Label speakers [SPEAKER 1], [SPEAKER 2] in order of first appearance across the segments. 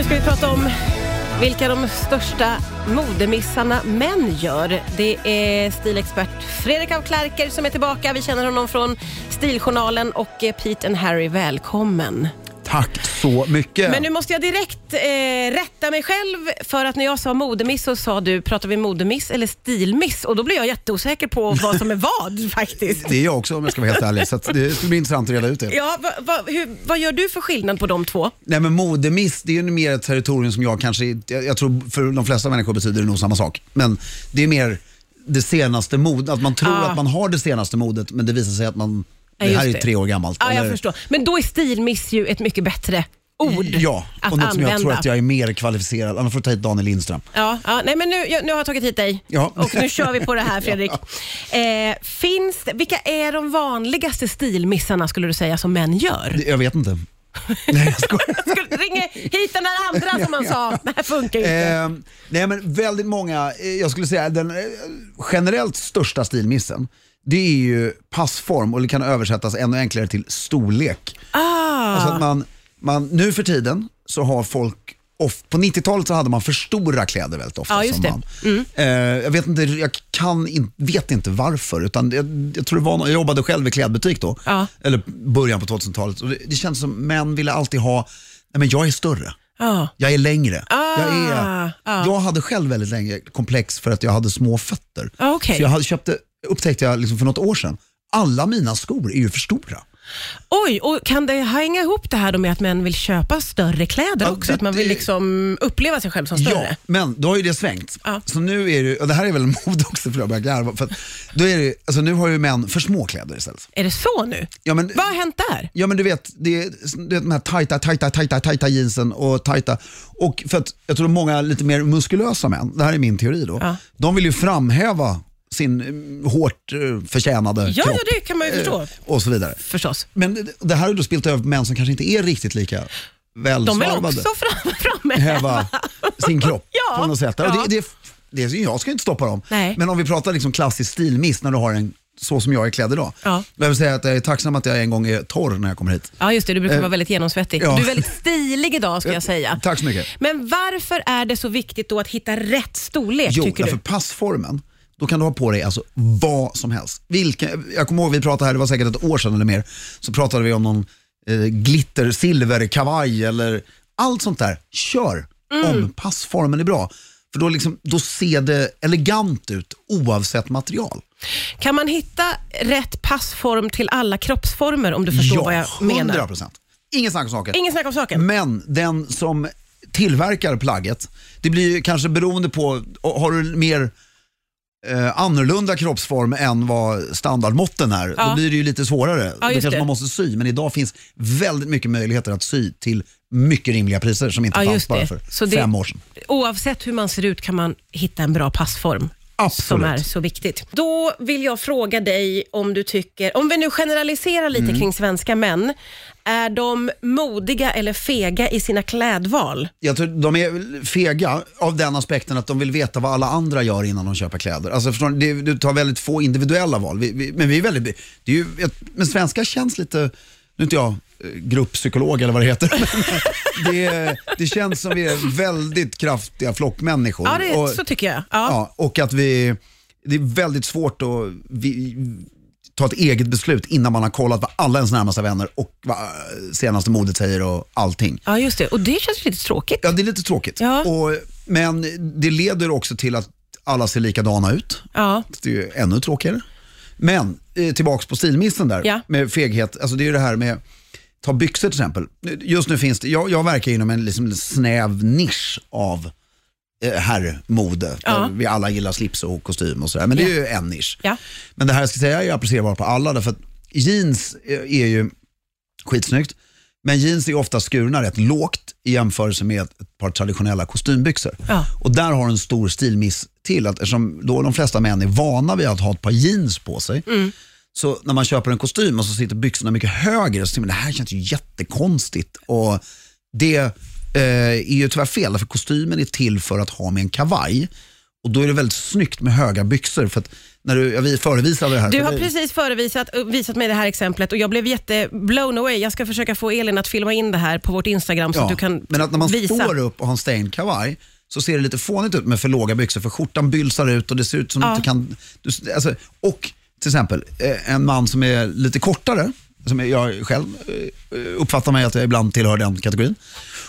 [SPEAKER 1] ska vi prata om vilka de största modemissarna män gör. Det är stilexpert Fredrik af Klerker som är tillbaka. Vi känner honom från Stiljournalen och eh, Pete and Harry, välkommen.
[SPEAKER 2] Tack så mycket.
[SPEAKER 1] Men nu måste jag direkt eh, rätta mig själv för att när jag sa modemiss så sa du, pratar vi modemiss eller stilmiss? Och då blev jag jätteosäker på vad som är vad faktiskt.
[SPEAKER 2] Det är jag också om jag ska vara helt ärlig. Så att det skulle bli intressant att reda ut det.
[SPEAKER 1] Ja, va, va, hur, vad gör du för skillnad på de två?
[SPEAKER 2] Nej men modemiss, det är ju mer ett territorium som jag kanske, jag, jag tror för de flesta människor betyder det nog samma sak. Men det är mer det senaste modet, att man tror
[SPEAKER 1] Ah.
[SPEAKER 2] att man har det senaste modet men det visar sig att man,
[SPEAKER 1] Ja,
[SPEAKER 2] det här
[SPEAKER 1] just
[SPEAKER 2] är tre år gammalt.
[SPEAKER 1] Ja, jag
[SPEAKER 2] eller-
[SPEAKER 1] förstår. Men då är stilmiss ju ett mycket bättre ord
[SPEAKER 2] Ja, och
[SPEAKER 1] att
[SPEAKER 2] något som jag tror
[SPEAKER 1] använda.
[SPEAKER 2] att jag är mer kvalificerad, annars får jag ta hit Daniel Lindström.
[SPEAKER 1] Ja, ja, nej men nu, jag, nu har jag tagit hit dig
[SPEAKER 2] Ja.
[SPEAKER 1] och nu kör vi på det här Fredrik. eh, finns det, vilka är de vanligaste stilmissarna skulle du säga som män gör?
[SPEAKER 2] Det- Jag vet inte. Nej jag skojar.
[SPEAKER 1] Skulle, ringa hit den där andra som man sa, det här funkar ju inte.
[SPEAKER 2] Eh, nej men väldigt många, eh, jag skulle säga den eh, generellt största stilmissen, det är ju passform och det kan översättas ännu enklare till storlek.
[SPEAKER 1] Ah,
[SPEAKER 2] Alltså att man, man, nu för tiden så har folk of- på 90-talet så hade man för stora kläder väldigt ofta.
[SPEAKER 1] Ja, just
[SPEAKER 2] som
[SPEAKER 1] det. Mm.
[SPEAKER 2] man, eh, jag vet inte, jag kan in, vet inte varför. Utan jag, jag, tror det var, nå- jag jobbade själv i klädbutik då,
[SPEAKER 1] Ja.
[SPEAKER 2] eller början på 2000-talet. Och det, det känns som män ville alltid ha, nej men jag är större.
[SPEAKER 1] ah.
[SPEAKER 2] Jag är längre. Jag,
[SPEAKER 1] Ah,
[SPEAKER 2] är,
[SPEAKER 1] ah.
[SPEAKER 2] jag hade själv väldigt länge komplex för att jag hade små fötter.
[SPEAKER 1] Ah, okej.
[SPEAKER 2] Så jag hade, köpte, upptäckte jag liksom för något år sedan, alla mina skor är ju för stora.
[SPEAKER 1] Oj, och kan det hänga ihop det här då med att män vill köpa större kläder
[SPEAKER 2] Ja,
[SPEAKER 1] också?
[SPEAKER 2] det-
[SPEAKER 1] att man vill
[SPEAKER 2] det-
[SPEAKER 1] liksom uppleva sig själv som
[SPEAKER 2] Ja,
[SPEAKER 1] större? Ah.
[SPEAKER 2] men då har ju det svängt.
[SPEAKER 1] Ja.
[SPEAKER 2] Så nu är det, och det här är väl mod också för jag börjar garva. För att då är det, alltså nu har ju män för små kläder istället.
[SPEAKER 1] Är det så nu?
[SPEAKER 2] Ja, men,
[SPEAKER 1] Vad har hänt där?
[SPEAKER 2] Ja men du vet, det är, du vet de här tajta, tajta, tajta, tajta jeansen och tajta. Och för att jag tror många lite mer muskulösa män, det här är min teori då,
[SPEAKER 1] Ja.
[SPEAKER 2] de vill ju framhäva sin eh, hårt eh, förtjänade
[SPEAKER 1] Ja,
[SPEAKER 2] kropp
[SPEAKER 1] ja, det kan man ju förstå.
[SPEAKER 2] eh, och så vidare.
[SPEAKER 1] Förstås.
[SPEAKER 2] Men det- det här har ju då spilt över på män som kanske inte är riktigt lika
[SPEAKER 1] De vill
[SPEAKER 2] välsvarvade
[SPEAKER 1] också fram, framhäva.
[SPEAKER 2] häva sin kropp
[SPEAKER 1] Ja,
[SPEAKER 2] på något sätt. Och
[SPEAKER 1] ja.
[SPEAKER 2] det, det, det, jag ska ju inte stoppa dem.
[SPEAKER 1] Nej.
[SPEAKER 2] Men om vi pratar liksom klassisk stilmiss när du har en så som jag är klädd idag.
[SPEAKER 1] Ja.
[SPEAKER 2] Jag vill säga att jag är tacksam att jag en gång är torr när jag kommer hit.
[SPEAKER 1] Ja, just det. Du brukar vara väldigt genomsvettig.
[SPEAKER 2] Eh, ja. Eh,
[SPEAKER 1] Du är väldigt stilig idag, ska jag säga.
[SPEAKER 2] Tack så mycket.
[SPEAKER 1] Men varför är det så viktigt då att hitta rätt storlek,
[SPEAKER 2] Jo,
[SPEAKER 1] tycker
[SPEAKER 2] därför
[SPEAKER 1] du?
[SPEAKER 2] passformen, då kan du ha på dig alltså vad som helst. Vilka, jag kommer ihåg vi pratade här, det var säkert ett år sedan eller mer, så pratade vi om någon eh, glitter, silver, kavaj eller allt sånt där. Kör
[SPEAKER 1] Mm.
[SPEAKER 2] om passformen är bra. För då, liksom, då ser det elegant ut oavsett material.
[SPEAKER 1] Kan man hitta rätt passform till alla kroppsformer, om du förstår vad jag menar?
[SPEAKER 2] procent. Ingen snack om saken.
[SPEAKER 1] Ingen snack om saken.
[SPEAKER 2] Men den som tillverkar plagget, det blir ju kanske beroende på, och har du mer eh, annorlunda kroppsform än vad standardmåtten är,
[SPEAKER 1] Ja.
[SPEAKER 2] då blir det ju lite svårare. då
[SPEAKER 1] just
[SPEAKER 2] kanske
[SPEAKER 1] det.
[SPEAKER 2] man måste sy, men idag finns väldigt mycket möjligheter att sy till mycket rimliga priser som inte
[SPEAKER 1] Ja,
[SPEAKER 2] fanns
[SPEAKER 1] just
[SPEAKER 2] bara
[SPEAKER 1] det.
[SPEAKER 2] för
[SPEAKER 1] Så det-
[SPEAKER 2] fem år sedan.
[SPEAKER 1] Oavsett hur man ser ut kan man hitta en bra passform.
[SPEAKER 2] Absolut.
[SPEAKER 1] Som är så viktigt. Då vill jag fråga dig om du tycker, om vi nu generaliserar lite
[SPEAKER 2] Mm.
[SPEAKER 1] kring svenska män, är de modiga eller fega i sina klädval?
[SPEAKER 2] Jag tror de är fega av den aspekten att de vill veta vad alla andra gör innan de köper kläder. Alltså förstår ni, det, du tar väldigt få individuella val. Vi, vi, men vi är väldigt, det är ju, jag, men svenskar känns lite, nu är inte jag eh, grupppsykolog eller vad det heter. men det, är- det känns som vi är väldigt kraftiga flockmänniskor.
[SPEAKER 1] Ja, det,
[SPEAKER 2] Och-
[SPEAKER 1] så tycker jag. ja.
[SPEAKER 2] Ja, och att vi, det är väldigt svårt att vi, ta ett eget beslut innan man har kollat vad alla ens närmaste vänner och vad eh, senaste modet säger och allting.
[SPEAKER 1] Ja, just det. Och det känns lite tråkigt.
[SPEAKER 2] Ja, det är lite tråkigt.
[SPEAKER 1] Ja.
[SPEAKER 2] Och, men det leder också till att alla ser likadana ut.
[SPEAKER 1] Ja.
[SPEAKER 2] Det är ju ännu tråkigare. Men eh, tillbaks på stilmissen där
[SPEAKER 1] Ja.
[SPEAKER 2] med feghet. Alltså det är ju det här med, ta byxor till exempel. Just nu finns det, jag, jag verkar inom en liksom snäv nisch av eh, herrmode.
[SPEAKER 1] Ja.
[SPEAKER 2] Där Vi alla gillar slips och kostym och sådär. Men det är ju en nisch.
[SPEAKER 1] Ja.
[SPEAKER 2] Men det här jag ska säga är applicerbart på alla. Därför att jeans eh, är ju skitsnyggt. Men jeans är ofta skurna rätt lågt i jämförelse med ett par traditionella kostymbyxor.
[SPEAKER 1] Ja.
[SPEAKER 2] Och där har en stor stilmiss till. Att eftersom då de flesta män är vana vid att ha ett par jeans på sig.
[SPEAKER 1] Mm.
[SPEAKER 2] Så när man köper en kostym och så sitter byxorna mycket högre så tänker man det här känns ju jättekonstigt. Och det eh, är ju tyvärr fel, för kostymen är till för att ha med en kavaj. Och då är det väldigt snyggt med höga byxor. För att när du, jag förevisade det här.
[SPEAKER 1] Du
[SPEAKER 2] för
[SPEAKER 1] har
[SPEAKER 2] dig.
[SPEAKER 1] precis förevisat eh, visat mig det här exemplet och jag blev jätte blown away. Jag ska försöka få Elin att filma in det här på vårt Instagram så
[SPEAKER 2] Ja,
[SPEAKER 1] att du kan
[SPEAKER 2] men att när man
[SPEAKER 1] visa.
[SPEAKER 2] står upp och har en stainkavaj så ser det lite fånigt ut med för låga byxor för skjortan bylsar ut och det ser ut som
[SPEAKER 1] Ja.
[SPEAKER 2] du inte kan... Du, alltså, och till exempel eh, en man som är lite kortare, som jag själv eh, uppfattar mig att jag ibland tillhör den kategorin.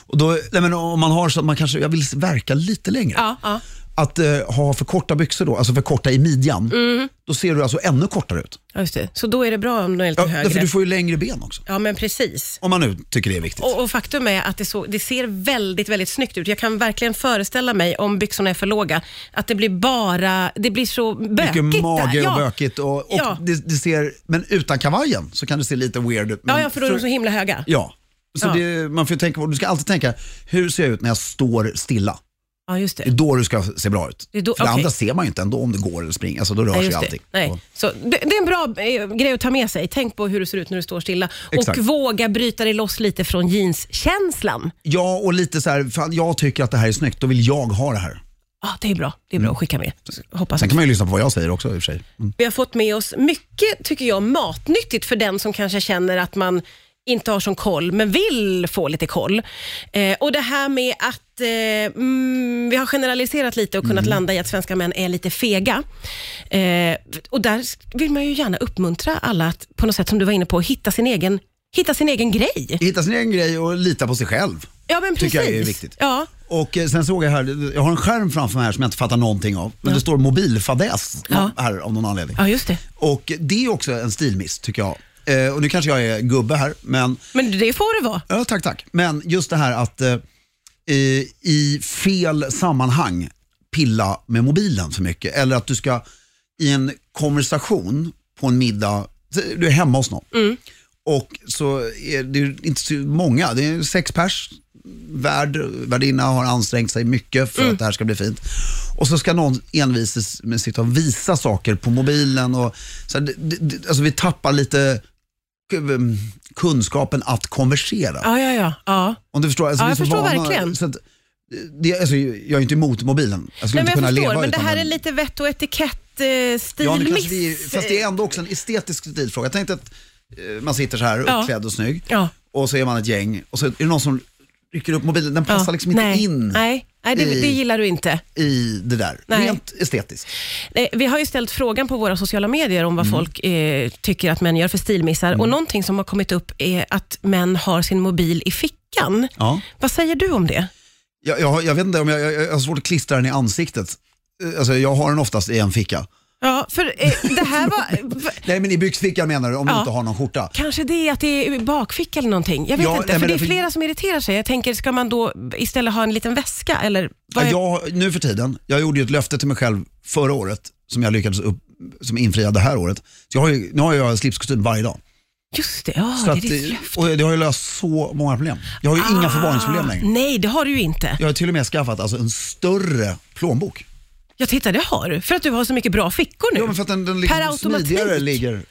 [SPEAKER 2] Och då, nej men om man har så att man kanske, jag vill verka lite längre.
[SPEAKER 1] Ja, ja.
[SPEAKER 2] Att eh, ha för korta byxor då, alltså för korta i midjan,
[SPEAKER 1] Mm.
[SPEAKER 2] då ser du alltså ännu kortare ut.
[SPEAKER 1] Ja, just det. Så då är det bra om du är lite
[SPEAKER 2] Ja,
[SPEAKER 1] högre.
[SPEAKER 2] därför du får ju längre ben också.
[SPEAKER 1] Ja, men precis.
[SPEAKER 2] Om man nu tycker det är viktigt.
[SPEAKER 1] Och, och faktum är att det, så, det ser väldigt, väldigt snyggt ut. Jag kan verkligen föreställa mig, om byxorna är för låga, att det blir bara, det blir så bökigt
[SPEAKER 2] Mycket mage
[SPEAKER 1] där.
[SPEAKER 2] och
[SPEAKER 1] Ja.
[SPEAKER 2] bökigt. Och, och
[SPEAKER 1] Ja.
[SPEAKER 2] det, det ser, men utan kavajen så kan det se lite weird ut. Men
[SPEAKER 1] Ja, ja, för då är de så himla höga.
[SPEAKER 2] ja. Så
[SPEAKER 1] Ja.
[SPEAKER 2] Det, man får ju tänka, du ska alltid tänka, hur ser jag ut när jag står stilla?
[SPEAKER 1] Ja, just det.
[SPEAKER 2] Det är då du ska se bra ut.
[SPEAKER 1] Det är då-
[SPEAKER 2] för det
[SPEAKER 1] okej.
[SPEAKER 2] andra ser man ju inte ändå om det går eller springer. Alltså, då rör
[SPEAKER 1] Nej,
[SPEAKER 2] sig ju
[SPEAKER 1] just det.
[SPEAKER 2] allting.
[SPEAKER 1] Nej.
[SPEAKER 2] Och-
[SPEAKER 1] Så det, det är en bra eh, grej att ta med sig. Tänk på hur du ser ut när du står stilla.
[SPEAKER 2] Exakt.
[SPEAKER 1] Och våga bryta dig loss lite från jeanskänslan.
[SPEAKER 2] Ja, och lite så här, fan, jag tycker att det här är snyggt, då vill jag ha det här.
[SPEAKER 1] Ja, det är bra. Det är bra att skicka med. Hoppas
[SPEAKER 2] Sen
[SPEAKER 1] att
[SPEAKER 2] kan man ju lyssna på vad jag säger också i och för sig. Mm.
[SPEAKER 1] Vi har fått med oss mycket, tycker jag, matnyttigt för den som kanske känner att man inte har sån koll, men vill få lite koll. Eh, och det här med att eh, mm, vi har generaliserat lite och kunnat
[SPEAKER 2] Mm.
[SPEAKER 1] landa i att svenska män är lite fega. Eh, och där s- vill man ju gärna uppmuntra alla att, på något sätt som du var inne på, hitta sin egen, hitta sin egen grej.
[SPEAKER 2] Hitta sin egen grej och lita på sig själv.
[SPEAKER 1] Ja, men precis.
[SPEAKER 2] Tycker jag är viktigt.
[SPEAKER 1] Ja,
[SPEAKER 2] Och eh, sen såg jag här, jag har en skärm framför mig här som jag inte fattar någonting av. Men det står mobilfadäs
[SPEAKER 1] Ja.
[SPEAKER 2] här av någon anledning.
[SPEAKER 1] ja, just det.
[SPEAKER 2] Och det är också en stilmiss tycker jag. Eh, och nu kanske jag är gubbe här, men
[SPEAKER 1] Men det får det vara.
[SPEAKER 2] ja, tack tack. Men just det här att eh, i- i fel sammanhang pilla med mobilen för mycket. Eller att du ska i en konversation på en middag, du är hemma hos någon. Och så är det ju inte så många, det är sex pers. Värd, värdinna har ansträngt sig mycket för att det här ska bli fint. Och så ska någon envisas med sitta och visa saker på mobilen. Och, så här, det, det- det, alltså vi tappar lite k- kunskapen att konversera.
[SPEAKER 1] Ja, ja, ja. ja.
[SPEAKER 2] Om du förstår? Alltså,
[SPEAKER 1] Ja,
[SPEAKER 2] vi
[SPEAKER 1] jag
[SPEAKER 2] är så
[SPEAKER 1] förstår
[SPEAKER 2] vana-
[SPEAKER 1] verkligen.
[SPEAKER 2] Så att, det, alltså, jag är inte emot mobilen. Jag skulle
[SPEAKER 1] Nej, men
[SPEAKER 2] inte
[SPEAKER 1] jag
[SPEAKER 2] kunna
[SPEAKER 1] förstår,
[SPEAKER 2] leva
[SPEAKER 1] men det
[SPEAKER 2] utan
[SPEAKER 1] här
[SPEAKER 2] den.
[SPEAKER 1] är lite vett och etikett eh,
[SPEAKER 2] Ja, nu
[SPEAKER 1] stilmiss.
[SPEAKER 2] kanske vi, fast det är ändå också en estetisk stilfråga. Jag tänkte att eh, man sitter så här
[SPEAKER 1] Ja.
[SPEAKER 2] uppklädd och snygg
[SPEAKER 1] Ja.
[SPEAKER 2] och så är man ett gäng och så är det någon som rycker upp mobilen. Den passar
[SPEAKER 1] Ja,
[SPEAKER 2] liksom inte
[SPEAKER 1] nej,
[SPEAKER 2] in
[SPEAKER 1] Nej, nej det,
[SPEAKER 2] i-
[SPEAKER 1] det gillar du inte.
[SPEAKER 2] i det där.
[SPEAKER 1] Nej.
[SPEAKER 2] Rent estetiskt.
[SPEAKER 1] Nej, Vi har ju ställt frågan på våra sociala medier om vad
[SPEAKER 2] Mm.
[SPEAKER 1] folk eh, tycker att män gör för stilmissar och någonting som har kommit upp är att män har sin mobil i fickan.
[SPEAKER 2] Ja.
[SPEAKER 1] Vad säger du om det?
[SPEAKER 2] Jag, jag, har- jag vet inte om jag, jag, jag har svårt att klistra den i ansiktet. Eh, Alltså, jag har den oftast i en ficka.
[SPEAKER 1] Ja, för eh, det här var... v-
[SPEAKER 2] Nej men i byxfickan menar du om du
[SPEAKER 1] Ja.
[SPEAKER 2] inte har någon skjorta.
[SPEAKER 1] Kanske det är att det är bakficka eller någonting. Jag vet
[SPEAKER 2] Ja,
[SPEAKER 1] inte,
[SPEAKER 2] nej,
[SPEAKER 1] för
[SPEAKER 2] men alltså-
[SPEAKER 1] det är
[SPEAKER 2] därför-
[SPEAKER 1] flera som irriterar sig. Jag tänker, ska man då istället ha en liten väska eller? Vad är...
[SPEAKER 2] Jag, nu för tiden, jag gjorde ju ett löfte till mig själv förra året som jag lyckades upp, som infria det här året. Så jag har ju, nu har jag slipskostym varje dag.
[SPEAKER 1] Just det, ja,
[SPEAKER 2] Så
[SPEAKER 1] det är
[SPEAKER 2] att,
[SPEAKER 1] ditt
[SPEAKER 2] eh,
[SPEAKER 1] löfte. Ah.
[SPEAKER 2] och det har ju löst så många problem. Jag har ju inga förvaringsproblem längre.
[SPEAKER 1] Nej, det har du ju inte.
[SPEAKER 2] Jag har till och med skaffat alltså, en större plånbok.
[SPEAKER 1] Jag tittar, det har du. För att du har så mycket bra fickor nu.
[SPEAKER 2] Ja, men för att den, den
[SPEAKER 1] Per
[SPEAKER 2] ligger
[SPEAKER 1] automatik.
[SPEAKER 2] smidigare ligger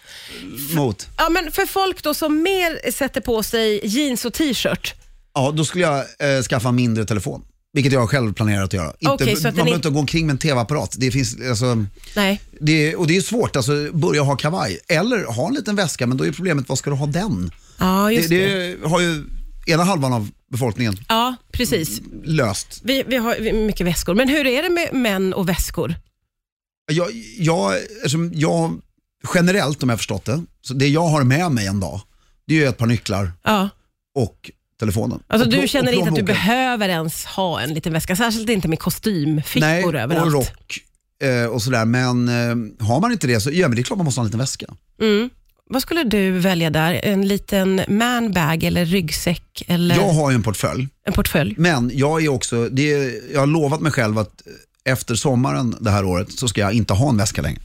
[SPEAKER 2] mot.
[SPEAKER 1] Ja, men för folk då som mer sätter på sig jeans och t-shirt.
[SPEAKER 2] Ja, då skulle jag eh, skaffa en mindre telefon. Vilket jag själv planerar att göra. Inte,
[SPEAKER 1] Okej, så att den
[SPEAKER 2] man behöver
[SPEAKER 1] är-
[SPEAKER 2] inte gå omkring med en TV-apparat. Det finns, alltså,
[SPEAKER 1] Nej.
[SPEAKER 2] det, är- och det är svårt, alltså, börja ha kavaj. Eller ha en liten väska, men då är problemet, vad ska du ha den?
[SPEAKER 1] Ja,
[SPEAKER 2] Det,
[SPEAKER 1] just det.
[SPEAKER 2] det har ju ena halvan av befolkningen
[SPEAKER 1] Ja, precis.
[SPEAKER 2] löst.
[SPEAKER 1] Vi, vi har vi- mycket väskor. Men hur är det med män och väskor?
[SPEAKER 2] Jag, jag, eftersom jag, generellt om jag förstått det, så det jag har med mig en dag, det är ju ett par nycklar
[SPEAKER 1] Ja.
[SPEAKER 2] och telefonen.
[SPEAKER 1] Alltså,
[SPEAKER 2] och, plå-
[SPEAKER 1] du
[SPEAKER 2] och
[SPEAKER 1] känner inte att du
[SPEAKER 2] plånboken.
[SPEAKER 1] behöver ens ha en liten väska, särskilt inte med kostymfickor
[SPEAKER 2] Nej,
[SPEAKER 1] överallt.
[SPEAKER 2] och rock eh, och sådär. Men eh, har man inte det så, ja men det är klart man måste ha en liten väska.
[SPEAKER 1] Mm. Vad skulle du välja där? En liten manbag eller ryggsäck eller
[SPEAKER 2] Jag har ju en portfölj,
[SPEAKER 1] en portfölj?
[SPEAKER 2] men jag är också, det är, jag har lovat mig själv att eh, efter sommaren det här året så ska jag inte ha en väska längre.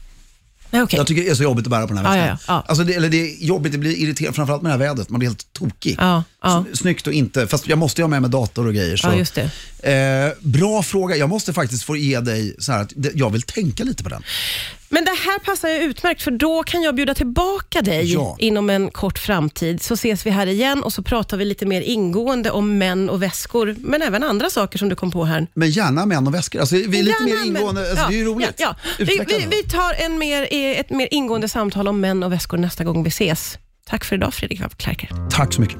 [SPEAKER 1] Nej, okej.
[SPEAKER 2] Jag tycker det är så jobbigt att bära på den här
[SPEAKER 1] Ja,
[SPEAKER 2] väskan.
[SPEAKER 1] ja, ja.
[SPEAKER 2] Alltså det, eller det är jobbigt, det blir irriterande, framförallt med det här vädret. Man blir helt tokig.
[SPEAKER 1] Ja, ja.
[SPEAKER 2] S- Snyggt och inte, fast jag måste ju ha med mig dator och grejer. Så.
[SPEAKER 1] Ja, just
[SPEAKER 2] Eh, bra fråga, jag måste faktiskt få ge dig så här att det- jag vill tänka lite på den.
[SPEAKER 1] Men det här passar ju utmärkt för då kan jag bjuda tillbaka dig
[SPEAKER 2] Ja.
[SPEAKER 1] inom en kort framtid. Så ses vi här igen och så pratar vi lite mer ingående om män och väskor, men även andra saker som du kom på här.
[SPEAKER 2] Men gärna män och väskor. Alltså, vi är lite
[SPEAKER 1] Gärna,
[SPEAKER 2] mer
[SPEAKER 1] men-
[SPEAKER 2] ingående. Alltså, Det är ju roligt.
[SPEAKER 1] Ja, ja. Vi,
[SPEAKER 2] Utveckla
[SPEAKER 1] vi,
[SPEAKER 2] det.
[SPEAKER 1] vi tar en mer, eh, ett mer ingående samtal om män och väskor nästa gång vi ses. Tack för idag Fredrik Klärker.
[SPEAKER 2] Tack så mycket.